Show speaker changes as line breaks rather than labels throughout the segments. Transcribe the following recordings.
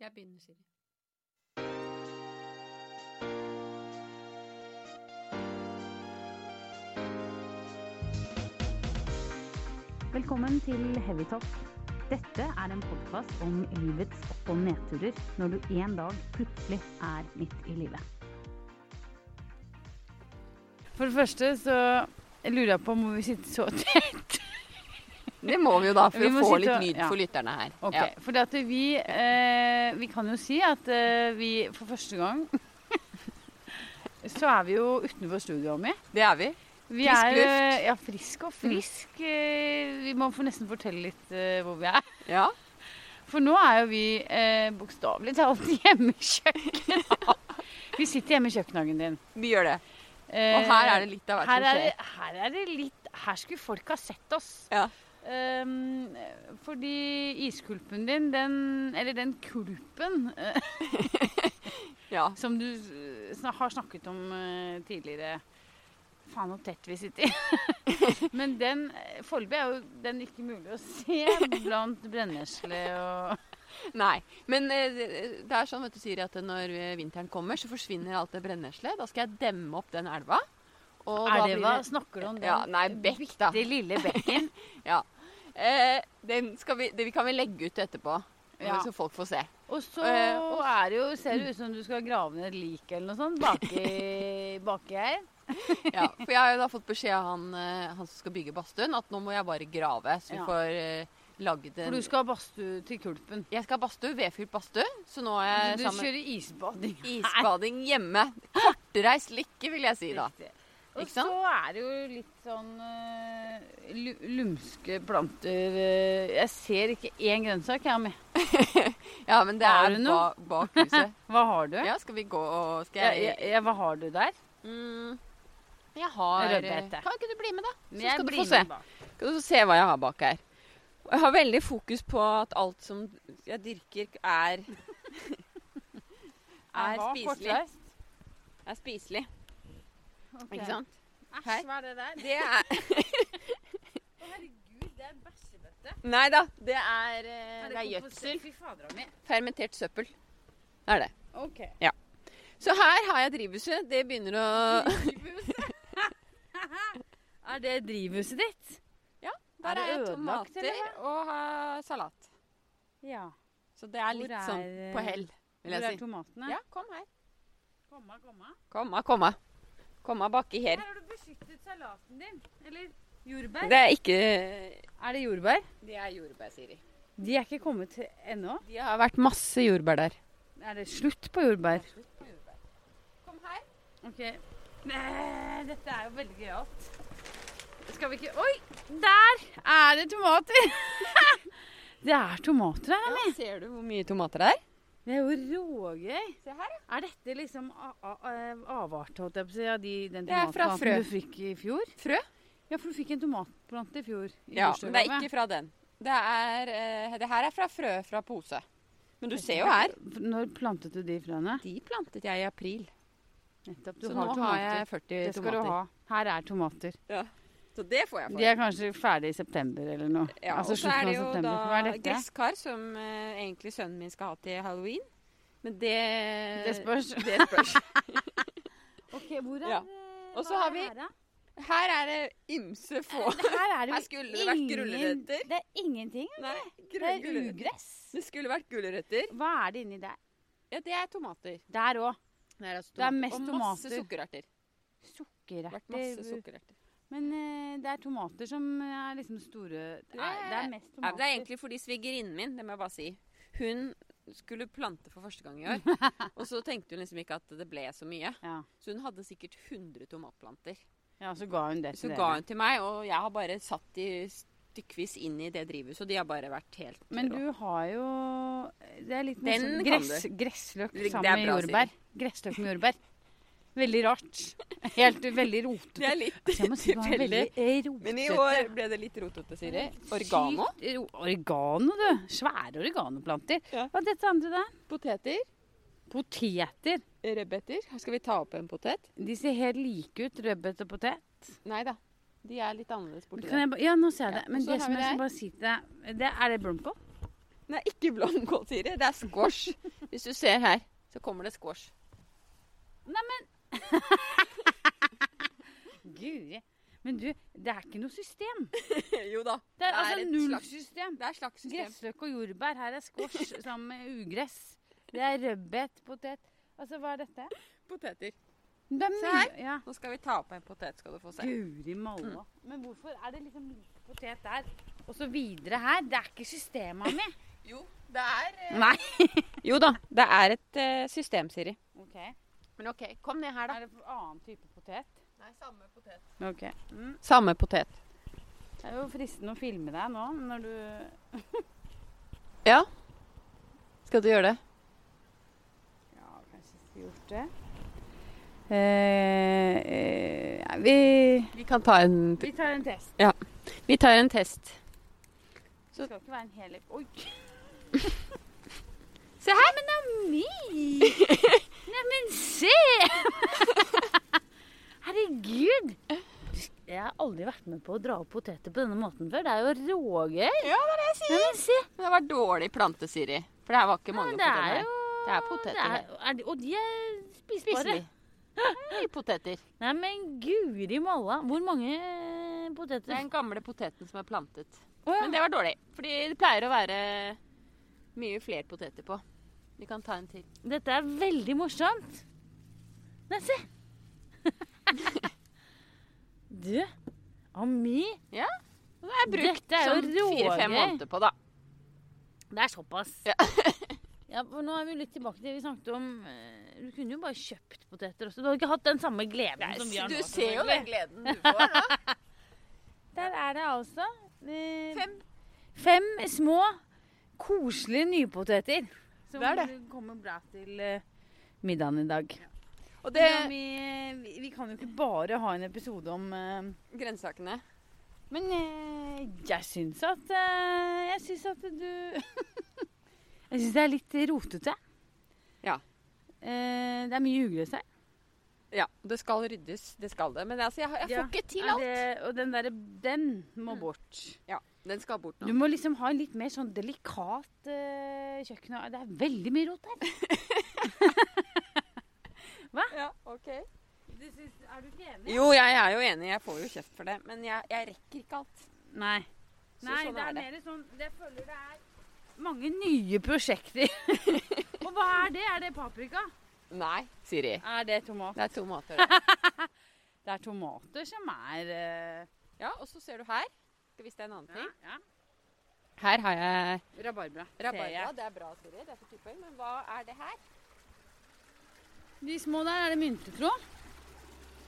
Jeg begynner, Siri.
Velkommen til Heavytalk. Dette er en podkast om livets opp- og nedturer når du en dag plutselig er midt i livet.
For det første så lurer jeg på om vi sitter så tett.
Det må vi jo da, for
Vi
å
må
få
sitte
litt
og-
lyd
ja.
for lytterne her.
Ok,
Ja.
For at vi, eh, vi kan jo si at eh, vi for første gang så er vi jo utenfor studioet mi.
Det er vi.
Vi
Frisk
er, eh, Ja, frisk og
Mm.
frisk. Eh, vi må for nesten fortelle litt eh, hvor vi er.
Ja.
For nå er jo vi eh, bokstavelig talt hjemme i kjøkkenet. vi sitter hjemme i kjøkkenhagen din.
Vi gjør det.
Eh,
Og her er det litt av hvert
her
som
er, det,
skjer.
her er det litt Her skulle folk ha sett oss.
Ja.
Ehm, fordi iskulpen din, den Eller den kulpen eh,
Ja.
som du eh, sna- har snakket om eh, tidligere Faen så tett vi sitter. Men den eh, foreløpig er jo den ikke mulig å se blant brennesle og
Nei. Men eh, det det er sånn vet du, Siri, at når eh, vinteren kommer, så forsvinner alt det brenneslet. Da skal jeg demme opp den elva. Og
Er
da
det
blir
hva? Snakker du om den?
Ja, nei, bekk, da.
Det lille bekken.
Eh, den skal vi, det kan vi legge ut etterpå, eh,
Ja.
så folk får se.
Og så
Eh, og-
er det jo, ser det ut som du skal grave ned et lik eller noe sånt baki, baki her.
Ja, for jeg har jo da fått beskjed av han, eh, han som skal bygge badstuen, at nå må jeg bare grave. Så vi
Ja.
får eh, lagd
For
en
du skal ha badstue til kulpen.
Jeg skal ha badstue, vedfylt badstue, så nå er jeg
Du
sammen
kjører isbading.
Isbading hjemme. Kortreist lykke, vil jeg si da.
Riktig. Og
Ikke
så
sant?
er det jo litt sånn eh, lu- lumske planter eh, Jeg ser ikke én grønnsak jeg har med.
Ja, men det
Har
er
du
ba,
noe?
bak huset.
Hva har du?
Ja, skal vi gå og
Ja,
Skal jeg
ja, ja, hva har du der?
mm, Jeg har eh,
Rødbete.
Kan ikke du bli med, da? Så
Jeg
skal du
blir
få
med
se.
bak.
Skal du se hva jeg har bak her. Og Jeg har veldig fokus på at alt som jeg dyrker, er
Jeg
Er
var
spiselig.
kortreist.
er spiselig.
Ok.
Ikke sant? Her.
Æsj, hva er det der?
Det er
Å, herregud, det er en bæsjebøtte.
Nei da. Det er, eh, det er gjødsel.
Fy fader av meg.
Fermentert søppel. Det er det.
Ok.
Så her har jeg drivhuset. Det begynner å
Er det drivhuset ditt?
Der
det
er jeg
ødelagt,
tomater
eller
og eh, salat.
Ja.
Så det er
Hvor
litt
er,
sånn på
eh,
hell,
Hvor
vil jeg
er
si.
tomatene?
Ja, kom her.
Komma, komma.
Komma, komma. Komma baki her.
Her har du beskyttet salaten din. Eller jordbær.
Det er ikke
Er det jordbær?
Det er jordbær, Siri.
De er ikke kommet ennå.
Det har vært masse jordbær der.
Er det slutt på jordbær?
Kom her.
Ok. dette er jo veldig gøyalt. Skal vi ikke Oi! Der er det tomater! det er tomater her.
Ja, ser du hvor mye tomater det er?
Det er jo rågøy.
Se her, ja.
Er dette liksom a- a- eh, avart, holdt jeg på å si, av de, den
Det er fra frø.
tomatplanten du fikk i fjor?
Frø?
Ja, for du fikk en tomatplante i fjor. I
Ja, men det er
bursdagsgave.
ikke fra den. Det, er, eh, det her er fra frø fra pose. Men du ser jo her.
Når plantet du de frøene?
De plantet jeg i april.
Nettopp. Du
Så
har
nå
tomater.
har jeg 40
det skal
tomater.
du ha. Her er tomater.
Så det får jeg for.
De er kanskje ferdig i september eller noe.
Ja,
altså
og så
slutten av
er det jo
september. Hva er
da
dette?
gresskar, som eh, egentlig sønnen min skal ha til halloween. Men det
Det spørs.
Det spørs.
Ok, hvor
Ja.
eh,
Og så
hva
har
er
vi-
det her, da?
Her er det ymse få.
Det Her er det
Her skulle det vært gulrøtter.
Det er ingenting.
Nei,
Det
grønne
er
gulrøtter.
ugress.
Det skulle vært gulrøtter.
Hva er det inni der?
Ja, det er tomater.
Der òg.
Det er, altså
Det er mest
Og masse
tomater.
sukkererter. Det har vært masse
Sukkererter.
sukkererter.
Men eh, det er tomater som er liksom store Det er, det er mest
Ja,
tomater.
men det er egentlig fordi svigerinnen min, det må jeg bare si, hun skulle plante for første gang i år. Og så tenkte hun liksom ikke at det ble så mye.
ja.
Så hun hadde sikkert 100 tomatplanter.
ja, så ga hun det
Så
til
ga
dere.
hun til meg, og jeg har bare satt de stykkevis inn i det drivhuset, og de har bare vært helt
Men
rå.
du har jo Det er litt
Den
morsomt.
kan
Gress, gressløk
Det er
sammen med
bra,
jordbær. Gressløk med jordbær. Veldig rart. Helt veldig
Det
rotete.
er litt
Jeg må si det var
tilfeldig.
veldig eh, rotete.
Men i år ble det litt rotete, Siri. Organo.
Sykt ro- Oregano, du. Svære oreganoplanter.
Ja.
Hva er dette andre der?
Poteter.
Poteter.
Rødbeter. Skal vi ta opp en potet?
De ser helt like ut, rødbet og potet.
Nei da. De er litt annerledes borti
Kan
der.
jeg ba ja, nå ser jeg
Ja,
det. Men
og så
det
har
som
vi
jeg
det
skal bare si til deg, det er det blomkål?
Nei, ikke blomkål, Siri. Det er squash. Hvis du ser her, så kommer det squash.
Guri. Men du, det er ikke noe system. Det
jo da.
er,
Det er
altså
et
null
slags-
system.
Det er slagssystem.
Gressløk og jordbær. Her er squash sammen med ugress. Det er rødbet, potet Altså, hva er dette? Det
Poteter.
er Mm.
Se
mye. Ja.
Nå skal vi ta opp en potet, skal du få se.
Guri malla. Men hvorfor er det liksom lik potet der, og så videre her? Det er ikke systema mi.
Jo, det er
Nei.
Jo da, det er et eh, system, Siri.
Ok.
Men OK, kom ned her,
Er det for annen type potet?
Nei, samme potet.
Ok.
Samme potet.
Det er jo fristende å filme deg nå når du
Ja. Skal du gjøre det?
Ja, kanskje skulle gjort det. Eh, eh, ja, vi,
Vi kan ta en
vi tar en test.
Vi tar en test.
Det skal ikke være en hel ep- Oi!
Se her!
Men det er meg! Neimen, se! Herregud! Jeg har aldri vært med på å dra opp poteter på denne måten før. Det er jo rågøy.
Ja, det er det jeg sier.
Neimen, se!
Det var dårlig plante, Siri. For det her var ikke mange
Men det er
poteter. her.
jo
Det er poteter
det er- er de- Og de er spisbare.
Spiselig. Høy poteter.
Neimen, guri malla. Hvor mange
Det er
poteter?
den gamle poteten som er plantet.
Å, ja.
Men det var dårlig, fordi det pleier å være mye flere poteter på. Vi kan ta en til.
Dette er veldig morsomt. Nei, se! du, Ami.
Og det er brukt
Dette er jo
sånn fire-fem
rågøy.
måneder på, da.
Det er såpass.
Ja.
Ja, for Nå er vi litt tilbake til det vi snakket om eh, Du kunne jo bare kjøpt poteter også. Du hadde ikke hatt den samme gleden som vi har nå.
du ser jo den
selvfølgelig.
gleden du får nå.
Der er det altså eh,
Fem.
fem små, koselige nypoteter. Som
Det er
kommer bra til eh, middagen i dag.
Og det
Det... Vi, vi, vi kan jo ikke bare ha en episode om eh,
grønnsakene.
Men eh, jeg syns at eh, Jeg syns at du Jeg syns det er litt rotete.
Ja.
Eh, det er mye ugress her.
Ja, det skal ryddes, det skal det. Men altså, jeg, har- jeg
Ja.
får ikke til
Er
alt.
det- og den derre Den må bort.
Mm. Ja, den skal bort
Du
nå.
må liksom ha en litt mer sånn delikat eh, kjøkken. Det er veldig mye rot her.
Ja, ok.
er du ikke enig?
Jo, jeg er jo enig. Jeg får jo kjeft for det. Men jeg, jeg rekker ikke alt.
Nei.
Så
Nei,
sånn
det
er
er
det.
mer sånn Jeg føler det er mange nye prosjekter. og hva er det? Er det paprika?
Nei, Siri.
Er det tomat?
Det er to måter. det.
Det er tomater som er eh,
Ja, og så ser du her. Skal vi se en annen ting.
ja.
Her har jeg
Rabarbra. ser
rabarbra.
jeg.
Det er bra, Siri. Det er for typer. Men hva er det her?
De små der, er det myntetråd?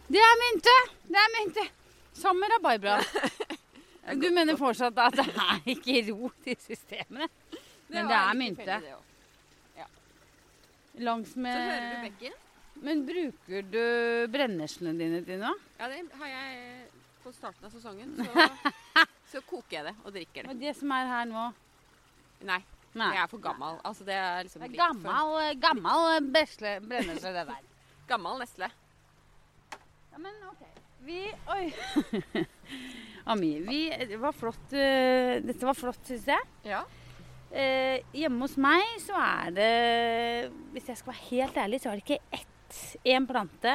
Det er mynte! Det er mynte! Sammen med rabarbra. Du mener fortsatt at det er ikke rot i systemene? Men det
var
er
litt
mynte.
tilfeldig, det også.
Langs
Så hører du
med
bekken.
Men bruker du brenneslene dine til noe?
Ja, det har jeg eh, på starten av sesongen. Så, så koker jeg det og drikker det.
Og det som er her nå
Nei,
Nei.
jeg er for gammel. Altså, det er liksom
Det er eh,
litt for
gammal, gammal bresle, brennesle, det der.
Gammel nesle.
Ja, men ok. Vi Oi. Ami, vi Det var flott. eh, Dette var flott, syns jeg.
Ja.
Eh, hjemme hos meg så er det Hvis jeg skal være helt ærlig, så er det ikke ett én plante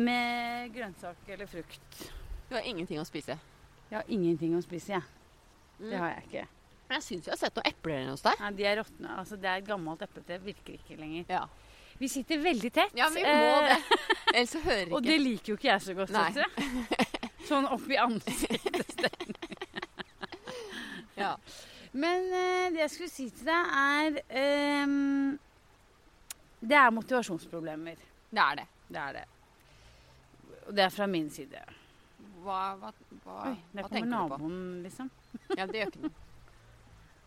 med grønnsak eller frukt.
Du har ingenting å spise.
Jeg har ingenting å spise, jeg.
Mm.
Det har jeg ikke.
Men jeg syns jeg har sett noen epler hos deg.
Nei, De er råtne. Altså, det er et gammelt epletre. Virker ikke lenger.
Ja.
Vi sitter veldig tett.
ja, men vi må
eh,
det. Ellers så hører ikke
Og det liker jo ikke jeg så godt.
Nei.
vet du. Sånn opp i ansiktet.
Ja.
Men eh, det jeg skulle si til deg, er ehm, Det er motivasjonsproblemer.
Det er det.
Det er det. Og det er fra min side.
Hva, hva, hva,
Oi, der
hva
kommer
tenker du på?
naboen, liksom.
Ja, det gjør ikke noe.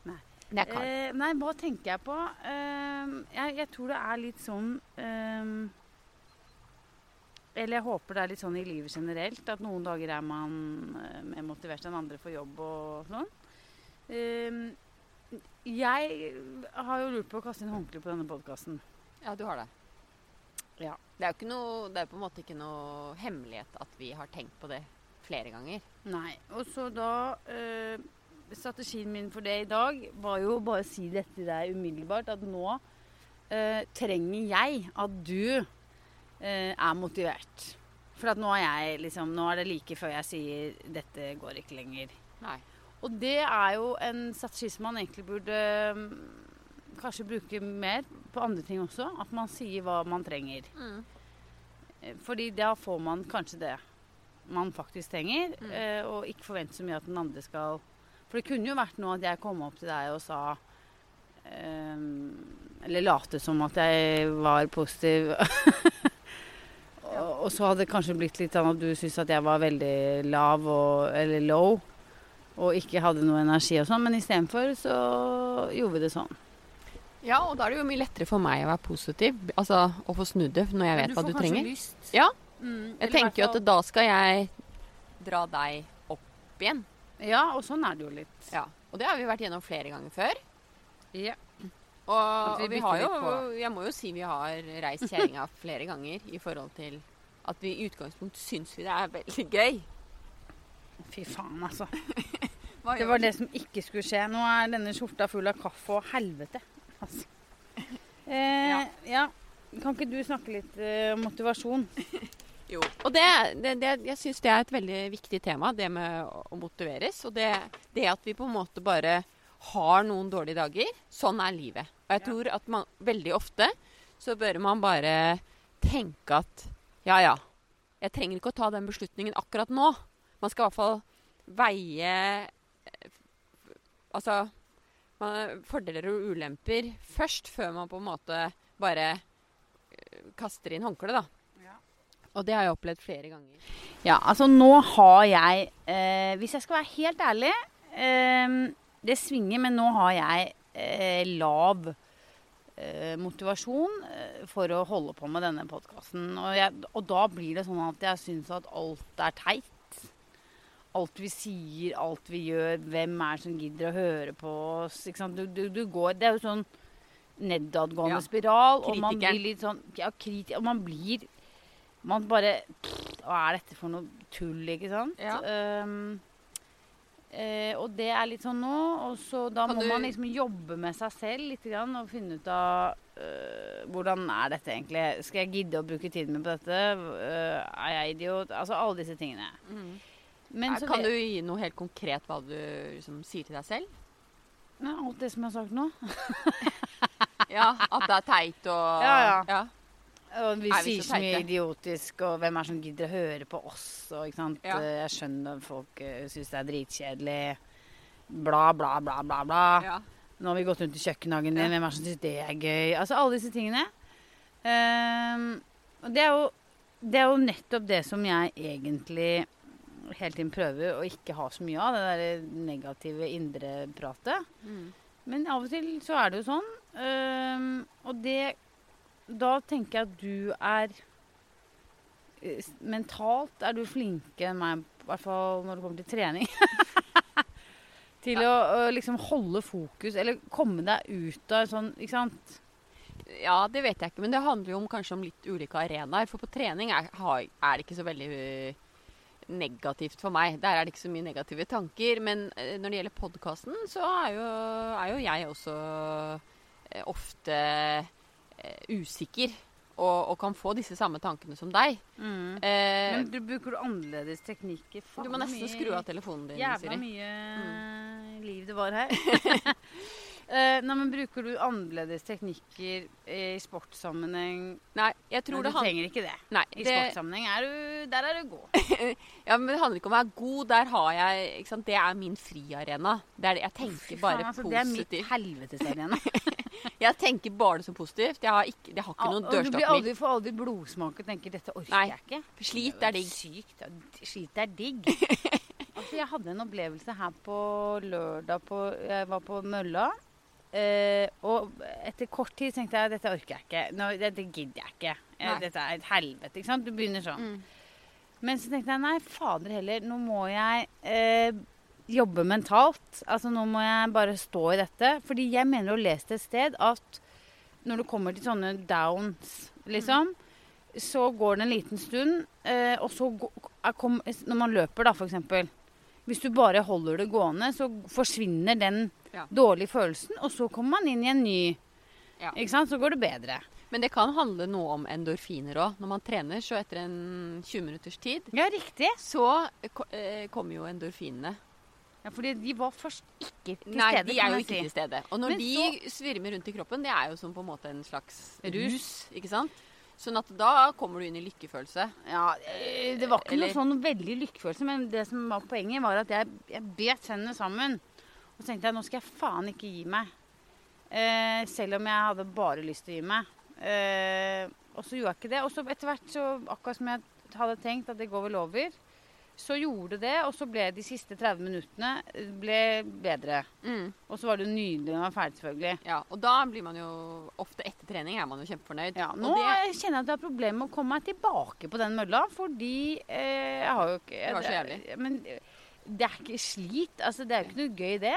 Nei.
Det er Carl.
Eh, nei, hva tenker jeg på? Ehm, jeg, jeg tror det er litt sånn ehm, Eller jeg håper det er litt sånn i livet generelt. At noen dager er man eh, mer motivert enn andre for jobb og sånn. Ehm, jeg har jo lurt på å kaste inn håndkle på denne podkasten.
Ja, du har det.
Ja.
Det er jo ikke noe, det er på en måte ikke noe hemmelighet at vi har tenkt på det flere ganger.
Nei. Og så da eh, strategien min for det i dag var jo bare å si dette til deg umiddelbart. At nå eh, trenger jeg at du eh, er motivert. For at nå er jeg liksom Nå er det like før jeg sier 'dette går ikke lenger'.
Nei.
Og det er jo en strategi som man egentlig burde mm, kanskje bruke mer på andre ting også. At man sier hva man trenger.
Mm.
Eh, Fordi da får man kanskje det man faktisk trenger,
Mm.
eh, og ikke forvente så mye at den andre skal For det kunne jo vært nå at jeg kom opp til deg og sa eh, Eller late som at jeg var positiv. og, og så hadde det kanskje blitt litt sånn at du syntes at jeg var veldig lav og, eller low. Og ikke hadde noe energi og sånn, men istedenfor så gjorde vi det sånn.
Ja, og da er det jo mye lettere for meg å være positiv. Altså å få snudd det når jeg vet hva du trenger.
Lyst.
Ja.
Mm,
Jeg tenker jo at da skal jeg dra deg opp igjen.
Ja, og sånn er det jo litt.
Ja. Og det har vi vært gjennom flere ganger før.
Ja.
Og,
vi
og vi
bytter
har jo,
litt på.
jeg må jo si vi har reist kjerringa flere ganger i forhold til at vi i utgangspunktet syns vi det er veldig gøy.
Fy faen, altså. Det var det som ikke skulle skje. Nå er denne skjorta full av kaffe og helvete. Altså. Eh, ja.
Ja.
Kan ikke du snakke litt eh, om motivasjon?
Jo. Og det, det, det, jeg syns det er et veldig viktig tema, det med å å motiveres. Og det, det at vi på en måte bare har noen dårlige dager. Sånn er livet. Og jeg
Ja.
tror at man veldig ofte så bør man bare tenke at ja, ja. Jeg trenger ikke å ta den beslutningen akkurat nå. Man skal i hvert fall veie eh, f- Altså man, fordeler og ulemper først, før man på en måte bare eh, kaster inn håndkleet, da. Og det har jeg opplevd flere ganger.
Ja, altså nå har jeg eh, Hvis jeg skal være helt ærlig eh, Det svinger, men nå har jeg eh, lav eh, motivasjon eh, for å holde på med denne podkasten. Og, jeg- og da blir det sånn at jeg syns at alt er teit. Alt vi sier, alt vi gjør, hvem er det som gidder å høre på oss? Ikke sant? Du, du, du går, det er jo sånn nedadgående
Ja.
spiral, og man
Kritikeren.
blir litt sånn ja, kriti- Og man blir Man bare pff, Hva er dette for noe tull, ikke sant?
Ja.
Ehm, eh, og det er litt sånn nå, og så da
Kan
må
du-
man liksom jobbe med seg selv litt grann, og finne ut av eh, hvordan er dette egentlig? Skal jeg gidde å bruke tiden min på dette? Eh, er jeg idiot? Altså alle disse tingene. Men så
Mm. Eh, kan
vet-
du gi noe helt konkret hva du liksom, sier til deg selv?
Nei, Alt det som jeg har sagt nå.
Ja, At det er teit og
Ja, Og vi
Er vi
sier
så
så mye
teite?
idiotisk, og hvem er det som gidder å høre på oss? Og, ikke sant?
Ja.
Eh, Jeg skjønner folk eh, syns det er dritkjedelig. Bla, bla, bla, bla, bla.
ja.
Nå har vi gått rundt i kjøkkenhagen
Ja.
din, hvem er det som syns det er gøy? Altså alle disse tingene. Ehm, og det er, jo, det er jo nettopp det som jeg egentlig hele tiden prøver å ikke ha så mye av, det der negative indre pratet.
Mm.
Men av og til så er det jo sånn. øhm, og det Da tenker jeg at du er eh, s- Mentalt er du flinkere enn meg, i hvert fall når det kommer til trening. til å, å liksom holde fokus, eller komme deg ut av en sånn Ikke sant?
ja, det vet jeg ikke. Men det handler jo om, kanskje om litt ulike arenaer. For på trening er, har- er det ikke så veldig øh, negativt for meg. Der er det ikke så mye negative tanker. Men øh, når det gjelder podkasten, så er jo, er jo jeg også øh, ofte øh, usikker. Og, og kan få disse samme tankene som deg. Eh,
Men du bruker du annerledes teknikker.
du må nesten skru av telefonen din.
Jævla
Siri. Mm.
mye liv det var her. Eh, nei, men Bruker du annerledes teknikker i sportssammenheng?
Nei,
Nei,
jeg tror det
du
handler
trenger ikke det.
Nei,
I
det,
sportssammenheng er du, der er du god.
ja, men det handler ikke om å være god. Der har jeg ikke sant? Det er min friarena. Det er det. Jeg tenker bare
altså, Det er mitt
positivt.
helvetesarena.
Jeg tenker bare det som positivt. Jeg har ikke, jeg har ikke noen
Og du blir
dørstokk.
aldri, får aldri blodsmak og tenker 'dette orker
Nei.
jeg ikke'.
Slit
Det
er digg.
Sykt. ja. Slit er digg. Altså, jeg hadde en opplevelse her på lørdag på Jeg var på mølla. eh, og etter kort tid tenkte jeg 'dette orker jeg ikke'. Nå, dette gidder jeg ikke. Eh,
Nei.
Dette er et helvete. ikke sant? Du begynner sånn.
Mm.
Men så tenkte jeg nei, fader heller, nå må jeg eh, jobbe mentalt. Altså nå må jeg bare stå i dette. Fordi jeg mener å ha lest et sted at når du kommer til sånne downs, liksom, så går det en liten stund, eh, og så gå- er kom, når man løper da, for eksempel, Hvis du bare holder det gående, så forsvinner den
Ja.
dårlige følelsen, og så kommer man inn i en ny.
Ja.
Ikke sant? Så går det bedre.
Men det kan handle noe om endorfiner òg. Når man trener, så etter en 20 minutters tid,
Ja, riktig.
så eh, ko- eh, kommer jo endorfinene.
Ja, fordi de var først ikke til
Nei,
stede,
de er
kan
jo
man
ikke til
si.
stede. Og når
Men
de svirmer rundt i kroppen, det er jo som på en måte en slags
Rus.
rus. ikke sant? Sånn at da kommer du inn i lykkefølelse.
Ja, eh, det var ikke
Eller-
noe sånn veldig lykkefølelse, men det som var poenget, var at jeg, jeg bet hendene sammen. Og så tenkte jeg nå skal jeg faen ikke gi meg. Eh, selv om jeg hadde bare lyst til å gi meg. Eh, og så gjorde jeg ikke det. Og så etter hvert, så akkurat som jeg hadde tenkt at det går vel over, så gjorde det, og så ble de siste 30 minuttene eh, ble bedre. Og så var det jo nydelig når jeg var ferdig, selvfølgelig.
Ja, Og da blir man jo ofte etter trening er man jo kjempefornøyd.
Ja,
Og
nå
det,
kjenner jeg at jeg har problemer med å komme meg tilbake på den mølla, fordi eh, jeg har jo ikke Eh,
Det var så jævlig.
Men det er ikke slit. Altså, det er jo ikke noe gøy, det.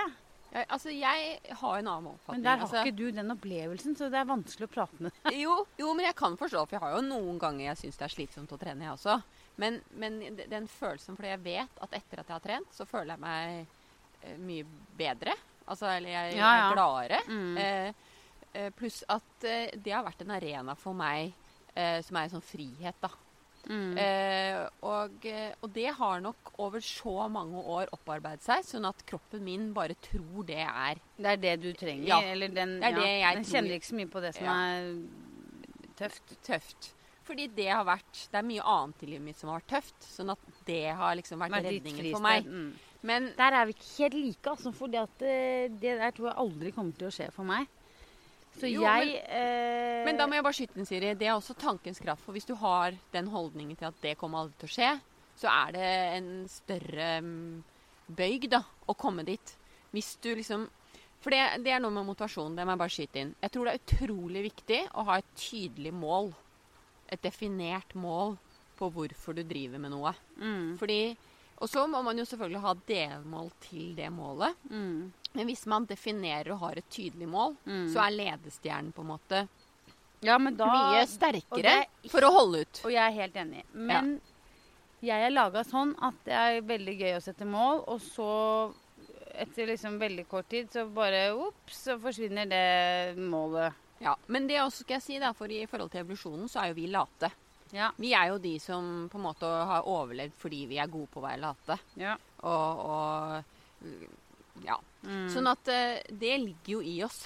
ja, altså, jeg har en annen oppfatning.
Men der har
altså,
ikke du den opplevelsen, så det er vanskelig å prate med deg.
jo, jo, men jeg kan forstå, for jeg har jo noen ganger jeg syns det er slitsomt å trene, jeg også. Men, men d- den følelsen, fordi jeg vet at etter at jeg har trent, så føler jeg meg eh, mye bedre. Altså, eller jeg,
Ja, ja.
jeg er gladere.
Mm.
Eh, eh, pluss at eh, det har vært en arena for meg eh, som er en sånn frihet, da.
Mm.
Eh, og, eh, og det har nok over så mange år opparbeidet seg, sånn at kroppen min bare tror det er
Det er det du trenger.
ja,
eller den,
det er det jeg
den
tror.
kjenner ikke så mye på det som
Ja.
er tøft.
tøft. Fordi det har vært Det er mye annet i livet mitt som har vært tøft, sånn at det har liksom vært
Men ditt
redningen
fristed,
for meg.
Mm.
Men
Der er vi ikke helt like, altså, for det, det der tror jeg aldri kommer til å skje for meg. Så
Jo,
jeg
men-
eh,
Men da må jeg bare skyte inn, Siri. Det er også tankens kraft. For hvis du har den holdningen til at det kommer aldri til å skje, så er det en større mm, bøyg da, å komme dit. Hvis du liksom For det, det er noe med motivasjon. Det må jeg bare skyte inn. Jeg tror det er utrolig viktig å ha et tydelig mål. Et definert mål på hvorfor du driver med noe.
mm,
Fordi Og så må man jo selvfølgelig ha delmål til det målet.
mm,
Men hvis man definerer og har et tydelig mål,
mm.
så er ledestjernen på en måte
Ja, men da
mye
og
sterkere
det-
for å holde ut.
Og jeg er helt enig. Men jeg er laga sånn at det er veldig gøy å sette mål, og så etter liksom veldig kort tid så bare ops, så forsvinner det målet.
Ja, Men det også skal jeg si da, for i forhold til evolusjonen så er jo vi late.
Ja.
Vi er jo de som på en måte har overlevd fordi vi er gode på å være late.
ja.
Og, og ja.
Mm.
Sånn at eh, det ligger jo i oss.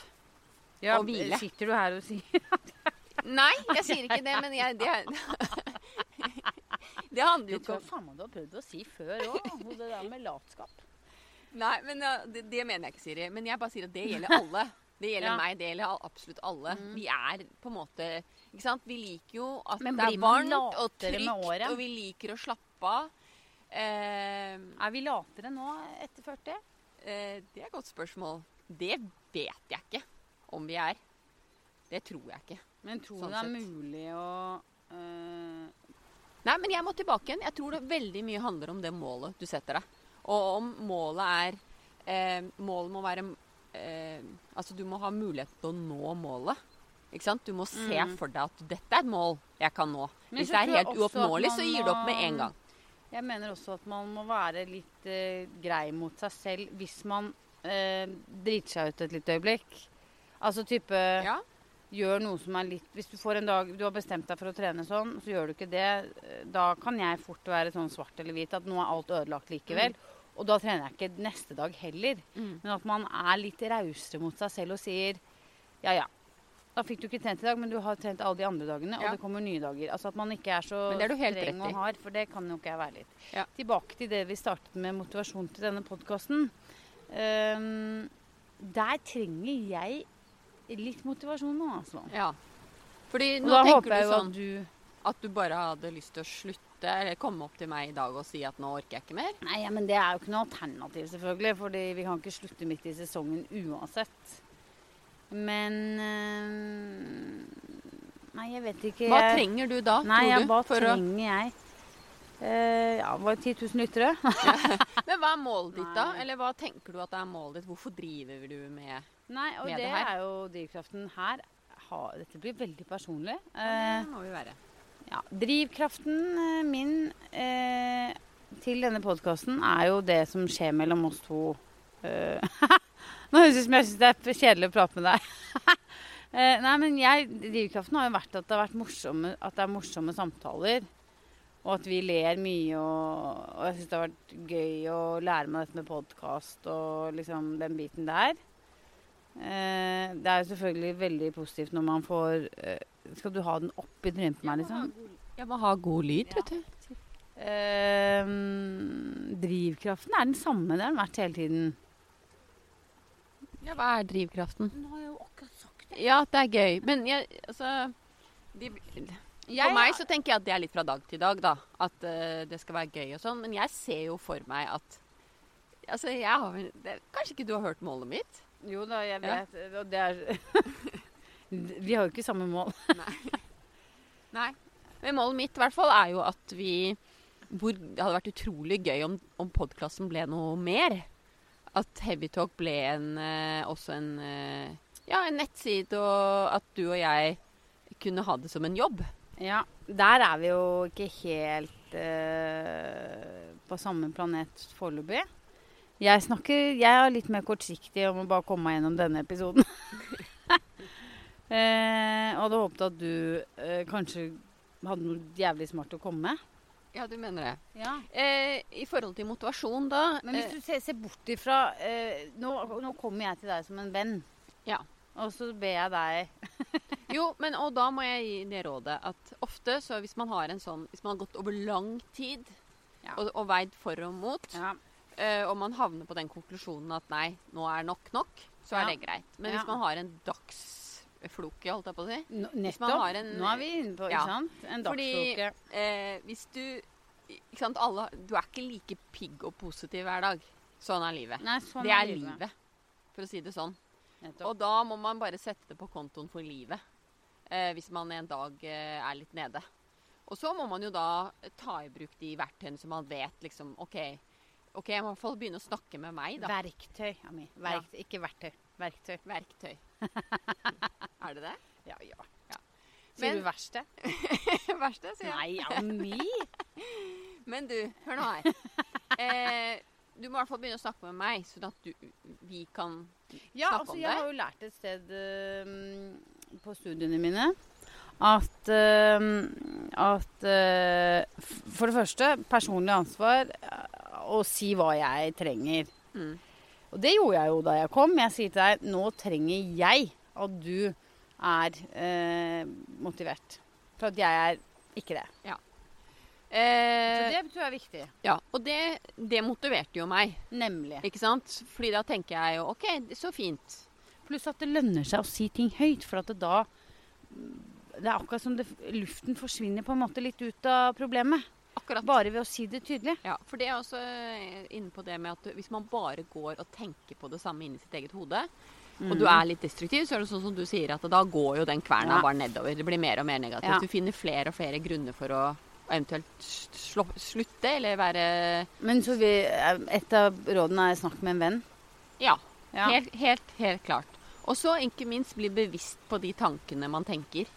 ja,
å hvile.
Sitter du her og sier
Nei, jeg sier ikke det, men jeg Det, det handler jo
Vet du
ikke
hva
om
faen meg du har prøvd å si før òg? Det der med latskap.
Nei, men ja, det, det mener jeg ikke, Siri. Men jeg bare sier at det gjelder alle. Det gjelder
Ja.
meg, det gjelder al- absolutt alle.
Mm.
Vi er på en måte Ikke sant? Vi liker jo at
Men
det
blir
er
man
varmt og
latere med
trygt,
året?
og vi liker å slappe av. Eh,
Er vi latere nå etter 40?
eh, det er et godt spørmål. Det vet jeg ikke om vi er. Det tror jeg ikke.
Men tror du
Sånn
det er
sett.
mulig å eh,
Nei, men jeg må tilbake igjen. Jeg tror det veldig mye handler om det målet du setter deg. Og om målet er eh, Målet må være eh, Altså, du må ha mulighet til å nå målet. Ikke sant? Du må se
Mm.
for deg at dette er et mål jeg kan nå.
Men
Hvis
så
det er
tror jeg
helt
også at
uoppnåelig,
man
så gir du opp med
må-
en gang.
Jeg mener også at man må være litt eh, grei mot seg selv hvis man eh, driter seg ut et lite øyeblikk. Altså type
Ja.
gjør noe som er litt Hvis du får en dag du har bestemt deg for å trene sånn, så gjør du ikke det. eh, Da kan jeg fort være sånn svart eller hvit at nå er alt ødelagt likevel. Og da trener jeg ikke neste dag heller.
Mm.
Men at man er litt rausere mot seg selv og sier ja, ja. Da fikk du ikke trent i dag, men du har trent alle de andre dagene,
Ja.
og det kommer nye dager. Altså at man ikke er så
Men det er du helt
streng
rett i.
og hard, for det kan jo ikke jeg være litt.
Ja.
Tilbake til det vi startet med motivasjon til denne podkasten. Ehm, der trenger jeg litt motivasjon nå, altså.
ja. Fordi
Og
nå
da
tenker
håper
du
jeg jo
sånn
at du
at du bare hadde lyst til å slutte, eller komme opp til meg i dag og si at nå orker jeg ikke mer.
Nei, ja, men det er jo ikke noe alternativ, selvfølgelig. Fordi vi kan ikke slutte midt i sesongen uansett. Men eh, Nei, jeg vet ikke.
Hva
jeg-
trenger du da,
Nei, ja,
tror du?
hva
for å-
trenger jeg? Eh, ja, var det 10 000 lyttere?
Men hva er målet ditt, da?
Nei.
Eller hva tenker du at er målet ditt? Hvorfor driver du med
Nei, og
Med
det,
det her.
er jo drivkraften her. Ha, dette blir veldig personlig.
Ja,
Eh,
det må vi være.
ja, drivkraften eh, min eh, til denne podkasten er jo det som skjer mellom oss to. Eh, Nå høres det ut som jeg syns det er kjedelig å prate med deg. Eh, Nei, men jeg, Drivkraften har jo vært at det har vært morsomme, at det er morsomme samtaler. Og at vi ler mye. Og, og jeg syns det har vært gøy å lære meg dette med podkast og liksom den biten der. Eh, Det er jo selvfølgelig veldig positivt når man får eh, Skal du ha den opp i trynet på meg, liksom?
Jeg må ha god lyd,
Ja.
vet du.
Eh, Ehm, drivkraften er den samme, det har den vært hele tiden.
Ja, hva er drivkraften?
Hun har jo akkurat sagt det.
Ja, det er gøy. Men jeg, altså de, For meg så tenker jeg at det er litt fra dag til dag, da. At eh, det skal være gøy og sånn. Men jeg ser jo for meg at Altså, jeg har det, Kanskje ikke du har hørt målet mitt?
Jo da, jeg
Ja.
vet. Og det er Vi har jo ikke samme mål.
Nei. Men målet mitt i hvert fall er jo at vi hvor Det hadde vært utrolig gøy om, om podkasten ble noe mer. At Heavytalk ble en, eh, også en eh, Ja, en nettside, og at du og jeg kunne ha det som en jobb.
Ja, Der er vi jo ikke helt eh, på samme planet foreløpig. Jeg snakker, jeg er litt mer kortsiktig om å bare komme meg gjennom denne episoden. eh, og hadde håpet at du eh, kanskje hadde noe jævlig smart å komme med.
Ja, du mener det.
Ja.
Eh, I forhold til motivasjon, da
Men hvis du ser, ser bort ifra eh, nå, nå kommer jeg til deg som en venn.
Ja.
Og så ber jeg deg
eh, Jo, men og da må jeg gi det rådet at ofte så hvis man har en sånn Hvis man har gått over lang tid
Ja.
og, og veid for og mot, eh, og man havner på den konklusjonen at nei, nå er nok nok, så
Ja.
er det greit. Men
Ja.
hvis man har en dagsfloke, holdt jeg på å si
N-
Hvis man
Nettopp.
har en-
nå er vi inne på
Ja.
ikke sant? en
Fordi-
dagsfloke.
eh, Hvis du ikke sant, alle, Du er ikke like pigg og positiv hver dag. Sånn er livet.
Nei, sånn
det er livet, for å si det sånn.
Nettopp.
Og da må man bare sette det på kontoen for livet. Eh, hvis man en dag eh, er litt nede. Og så må man jo da ta i bruk de verktøyene som man vet liksom OK, ok, jeg må i hvert fall begynne å snakke med meg, da.
Verktøy, Ami. Verkt, Ikke verktøy. Verktøy.
Verktøy. er det det?
Ja, ja.
Ja.
Sier
Men-
du verste?
Verste, sier jeg.
Nei, Ami!
Men du, hør nå her. Eh, du må i hvert fall begynne å snakke med meg, sånn at du, vi kan
Ja,
Snakk
altså
om
jeg
det.
har jo lært et sted eh, på studiene mine at, eh, at eh, f- For det første, personlig ansvar eh, å si hva jeg trenger.
Mm.
Og det gjorde jeg jo da jeg kom. Jeg sier til deg nå trenger jeg at du er eh, motivert. For at jeg er ikke det. Så
eh,
det tror jeg er viktig.
Ja. Og det, det motiverte jo meg,
Nemlig.
ikke sant? Fordi da tenker jeg jo OK, så fint.
Pluss at det lønner seg å si ting høyt, for at det da Det er akkurat som det, luften forsvinner på en måte litt ut av problemet.
Akkurat
Bare ved å si det tydelig.
Ja, for det er også eh, inne på det med at du- hvis man bare går og tenker på det samme inni sitt eget hode, og du er litt destruktiv, så er det sånn som du sier at da går jo den kverna
Mm. Ja.
bare nedover. Det blir mer og mer negativt.
Ja.
Du finner flere og flere grunner for å eventuelt s- slå, slutte eller være
Men så vi, et av rådene er snakk med en venn.
Ja.
Ja.
Helt, helt, helt klart. Og så ikke minst bli bevisst på de tankene man tenker,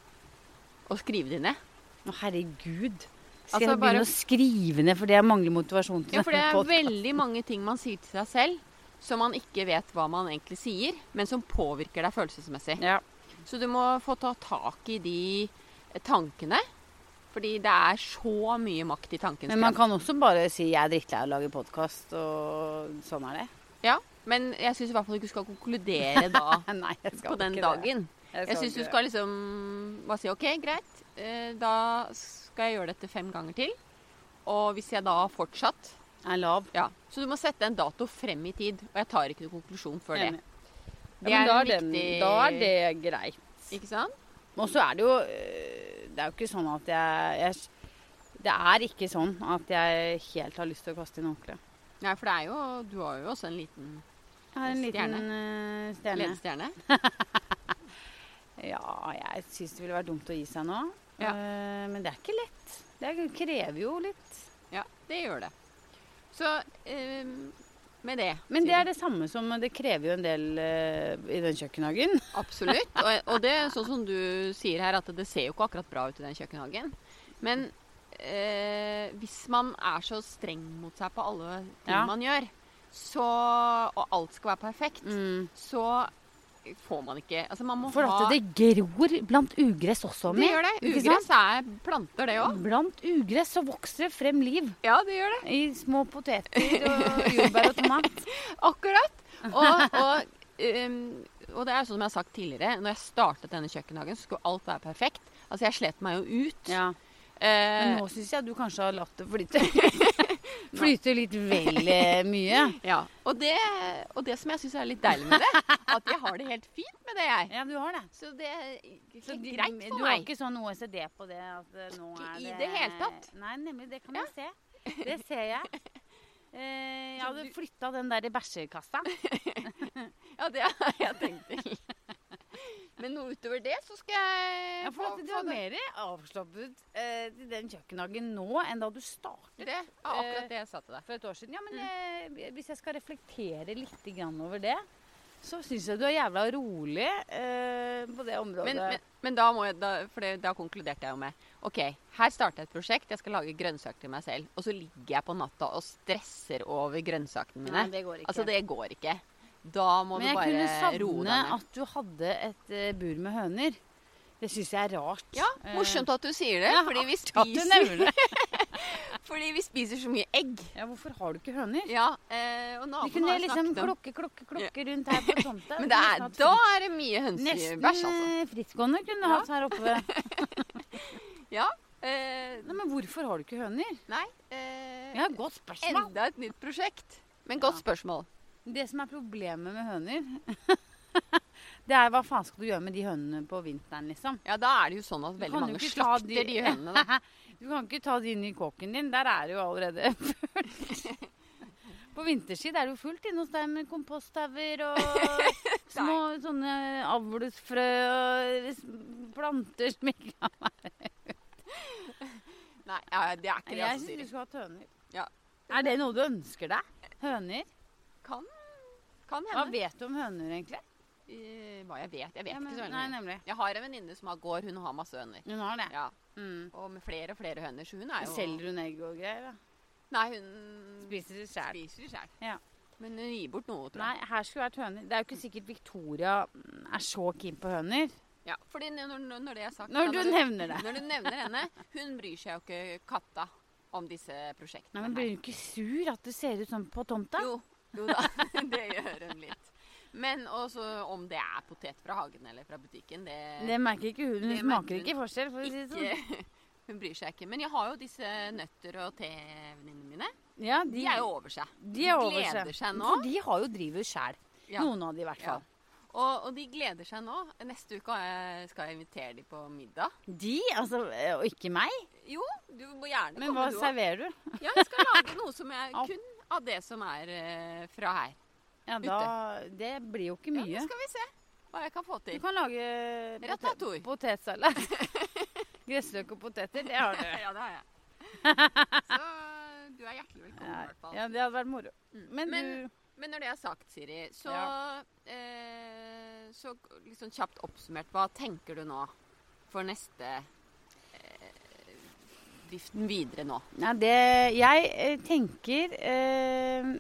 og skrive de ned.
Å, herregud.
Altså,
Skal jeg
bare-
begynne å skrive ned fordi jeg mangler motivasjon til
Jo, for det
denne
er
podcasten?
veldig mange ting man sier til seg selv som man ikke vet hva man egentlig sier, men som påvirker deg følelsesmessig.
ja.
Så du må få ta tak i de tankene. Fordi det er så mye makt i tankens
Men man
kraft.
kan også bare si 'jeg er drittlei av å lage podkast', og sånn er det.
Ja, men jeg syns i hvert fall ikke du skal konkludere da
Nei, jeg skal
på den
ikke
dagen.
Det.
Jeg syns du
ikke det.
skal liksom bare si OK, greit. eh, Da skal jeg gjøre dette fem ganger til. Og hvis jeg da har fortsatt
Er lav.
Ja. Så du må sette en dato frem i tid. Og jeg tar ikke noen konklusjon før det.
Enig.
Det
Ja, men
er
da
en
den-
viktig-
Da er det greit.
Ikke sant?
Og så er det jo øh, Det er jo ikke sånn at jeg, jeg Det er ikke sånn at jeg helt har lyst til å kaste inn håndkleet.
Nei, for det er jo Du har jo også en liten
Jeg har en liten øh, stjerne.
ledestjerne.
Ja, jeg syns det ville vært dumt å gi seg nå.
Ja.
Eh, men det er ikke lett. Det er- krever jo litt.
Ja, det gjør det. Så eh, med det
Men det
sier
er det samme som Det krever jo en del eh, i den kjøkkenhagen.
du. Absolutt. Og, og det er sånn som du sier her, at det ser jo ikke akkurat bra ut i den kjøkkenhagen. Men eh, Hvis man er så streng mot seg på alle ting
Ja.
man gjør, så, og alt skal være perfekt,
Mm.
så får man ikke Altså, man må
For
ha
at det gror blant ugress også,
Det
Mi.
gjør det.
Ikke
Ugress er planter, det òg.
Blant ugress så vokser det frem liv
Ja, det gjør det.
i små poteter.
Og jordbær og tomat.
Akkurat. Og, og, ehm, og det er sånn som jeg har sagt tidligere, når jeg startet denne kjøkkenhagen, så skulle alt være perfekt. Altså, jeg slet meg jo ut.
Ja. Men
Eh,
nå syns jeg du kanskje har latt det flyte. flyte litt vel eh, mye.
ja. og, det, og det som jeg syns er litt deilig med det, at jeg har det helt fint med det, jeg.
Ja, du har det.
Så det er helt
Så de-
greit for
du har
meg.
ikke sånn OECD på det? At eh, nå
Ikke
er
i det hele tatt.
Nei, nemlig. Det kan jeg se. Det ser jeg. Eh, jeg
Så
hadde
du-
flytta den der i bæsjekassa.
Ja, det har jeg tenkt til. Men noe utover det, så skal jeg
Ja, for
få-
at du
få
er
det-
mer avslappet eh, til den kjøkkenhagen nå enn da du startet
Det er akkurat det jeg sa til deg.
for et år siden. Ja,
Mm.
men eh, Hvis jeg skal reflektere litt grann over det, så syns jeg du er jævla rolig eh, på det området.
Men, men, men da, må jeg, da, for det, da konkluderte jeg jo med OK, her starter jeg et prosjekt. Jeg skal lage grønnsaker til meg selv. Og så ligger jeg på natta og stresser over grønnsakene mine.
Nei, det går ikke.
Altså, det går ikke. Da må
Men jeg
du
kunne
bare roe
savne
deg ned.
at du hadde et eh, bur med høner. Det syns jeg er rart.
Ja, morsomt at du sier det. Fordi vi
eh, at du
spiser,
nevner det.
fordi vi spiser så mye egg.
Ja, hvorfor har du ikke høner?
Ja, eh, og
Vi
naboen
kunne
har
liksom
snakket om
klokke, klokke, klokke rundt her på tomta.
Men det
Vi
er,
kunne hatt
da
fritt-
er det mye
Nesten
hønsebæsj, altså.
eh, frittgående kunne du
Ja.
hatt her oppe.
Ja. Eh,
Nei, men hvorfor har du ikke høner?
nei eh,
Ja, godt spørsmål.
Enda et nytt prosjekt. Men godt spørsmål.
Det som er problemet med høner, det er hva faen skal du gjøre med de hønene på vinteren, liksom?
Ja, da er det jo sånn at
Du
veldig
kan jo
mange
ikke ta
slakter de, hønene. Da.
Du kan ikke ta de inn i kåken din. Der er det jo allerede fullt. På vinterstid er det jo fullt inne hos deg med komposthauger og små sånne avlsfrø og s- planter som ikke
Nei, ja, det er ikke det,
Jeg
altså,
syns du
Siri.
skulle hatt høner.
Ja.
Er det noe du ønsker deg? Høner?
Kan, kan
Hva
hende.
vet du om høner, egentlig?
Eh, Hva jeg vet? Jeg vet
Ja, men-
ikke så veldig
Nei,
mye.
nemlig.
Jeg har en venninne som har gård. Hun har masse høner.
Hun har det.
Ja,
Mm.
Og med flere og flere høner. Så hun er jo
Selger hun egg og greier? da?
Nei, hun
Spiser det sjæl?
spiser sjæl.
Ja.
Men hun gir bort noe, tror jeg.
Nei, her skulle vært høner. Det er jo ikke sikkert Victoria mm, er så keen på høner.
Ja, fordi når, når, når det er sagt da,
Når du nevner det.
Når du nevner henne, hun bryr seg jo ikke katta om disse prosjektene.
Nei, men Blir
her.
hun ikke sur at det ser ut sånn på tomta?
Jo, jo da, det gjør hun litt. Men også om det er potet fra hagen eller fra butikken, det,
Det merker ikke hun. Hun
Det merker
smaker
hun.
ikke forskjell. for å si det sånn.
ikke Hun bryr seg ikke. Men jeg har jo disse nøtter- og tevenninnene mine.
Ja,
De er jo over seg.
de er over
gleder seg nå.
For de har jo drivet sjæl.
Ja.
Noen av de i hvert
Ja.
fall.
Og, og de gleder seg nå. Neste uke har jeg- skal jeg invitere de på middag.
De? Altså, eh, og ikke meg?
Jo, du må gjerne
Men hva
komme, du òg.
serverer du?
Ja, jeg skal lage noe som er
Au.
kun av det som er eh, fra her.
Ja, da, Det blir jo ikke
Ja,
mye.
nå skal vi se hva jeg kan få
Du
til.
kan lage potet,
Ratatouille.
potetsalat. Gressløk og poteter, det har du.
Ja, det har jeg. Så du er hjertelig velkommen, i hvert fall.
Ja, det hadde vært moro.
Mm.
Men, du
Men- Men når det er sagt, Siri, så, eh, så litt sånn kjapt oppsummert, hva tenker du nå for neste eh, driften videre nå?
Nei, det Jeg eh, tenker eh,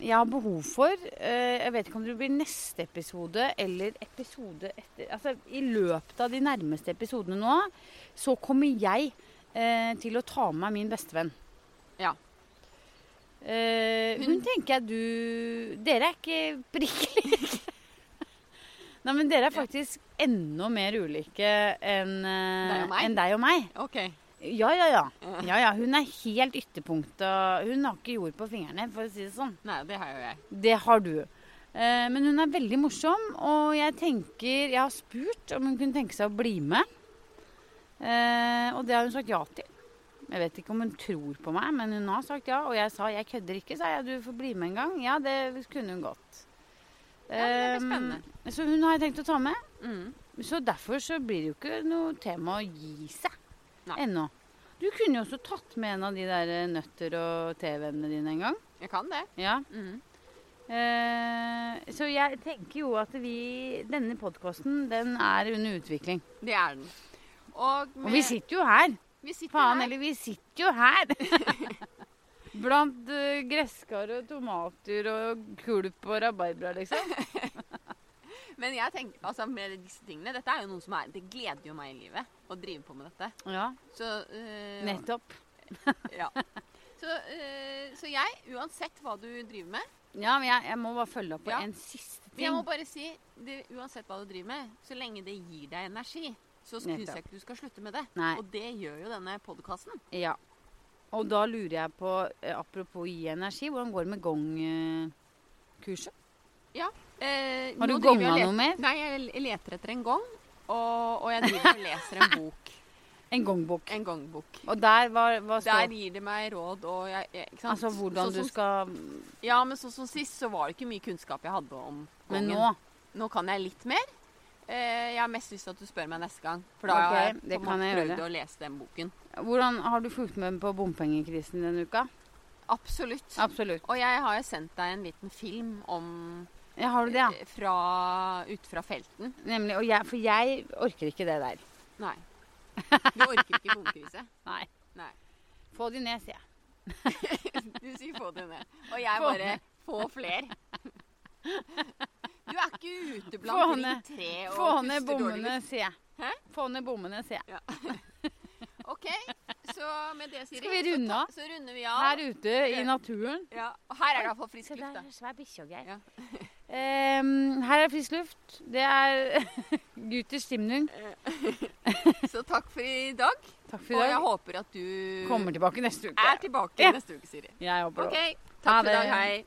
Jeg har behov for eh, Jeg vet ikke om det blir neste episode eller episode etter Altså, i løpet av de nærmeste episodene nå, så kommer jeg eh, til å ta med meg min bestevenn.
Ja.
Eh, hun tenker jeg du Dere er ikke prikk like. Nei, men dere er
Ja.
faktisk enda mer ulike enn eh,
Deg og meg?
enn deg og meg.
Ok.
Ja, ja, ja. ja, ja hun er helt ytterpunkt. Og hun har ikke jord på fingrene, for å si det sånn.
Nei, det har jo jeg.
Det har du. Eh, Men hun er veldig morsom, og jeg tenker Jeg har spurt om hun kunne tenke seg å bli med. Eh, Og det har hun sagt ja til. Jeg vet ikke om hun tror på meg, men hun har sagt ja. Og jeg sa 'jeg kødder ikke', sa jeg. 'Du får bli med en gang'. Ja, det kunne hun godt.
Ja, det
Eh,
blir spennende.
Så hun har jeg tenkt å ta med.
Mm.
Så derfor så blir det jo ikke noe tema å gi seg
Nei.
ennå. Du kunne jo også tatt med en av de der eh, nøtter og TV-ene dine en gang.
Jeg kan det.
Ja.
Mm.
Eh, så jeg tenker jo at vi Denne podkasten, den er under utvikling.
Det er den. Og, med,
Og vi sitter jo her.
Vi sitter
Faen
her.
eller vi sitter jo her. Blant eh, gresskar og tomater og kulp og rabarbra, liksom.
Men jeg tenker, altså med disse tingene Dette er jo noe som er Det gleder jo meg i livet å drive på med dette.
Ja,
Så, øh,
nettopp.
ja. så, øh, så jeg, uansett hva du driver med
Ja, men jeg, jeg må bare følge opp på
Ja.
en siste
Men jeg
ting.
må bare si, det, uansett hva du driver med, så lenge det gir deg energi, så syns jeg
Nettopp.
ikke du skal slutte med det.
Nei,
Og det gjør jo denne podkasten.
ja. Og da lurer jeg på, eh, apropos gi energi, hvordan går det med gongkurset?
Eh,
Har
nå
du
driver
gonga
jeg og
noe mer?
let- Nei, jeg l- leter etter en gong. Og, og jeg driver og leser en bok.
En gongbok.
En gongbok.
Og der var, hva
Der
står
gir det meg råd og jeg, jeg, ikke sant?
Altså hvordan
Sånn
du
som-
skal
Ja, men sånn som sist, så var det ikke mye kunnskap jeg hadde om
Men
gongen.
nå
Nå kan jeg litt mer. Eh, jeg har mest lyst til at du spør meg neste gang. For da har
Ok,
jeg på
det
en
kan
måte
jeg
prøvd
gjøre.
å lese den boken.
Hvordan har du fulgt med på bompengekrisen denne uka?
Absolutt.
Absolutt.
Og jeg har jo sendt deg en liten film om
Ja, har du det, ja?
eh, fra, ut fra felten.
Nemlig. Og jeg, for jeg orker ikke det der.
Nei. Du orker ikke bomkrise.
Nei.
Nei.
Få de ned, sier jeg.
Du sier få det ned. Og jeg
Få
bare få fler. Du er ikke ute
Få
blant
ned-
ringt tre og
Få ned
puster dårlig
bommene, sier jeg.
Hæ?
Få ned bommene, sier jeg.
luft. OK. Så med det, Siri,
Skal vi runde
så,
av?
ta- så runder vi av.
Her ute i naturen.
ja. Og her er det iallfall
Se
frisk
der,
luft, da.
svær bikkje og greier.
Ja.
Ehm, her er frisk luft. Det er Gutters stimning.
Så takk for i dag.
Takk for
Og
i
jeg
dag.
håper at du
Kommer tilbake neste uke.
er tilbake
Ja.
neste uke, Siri.
Jeg håper det.
OK.
Ha
Takk for i
det.
dag. Hei.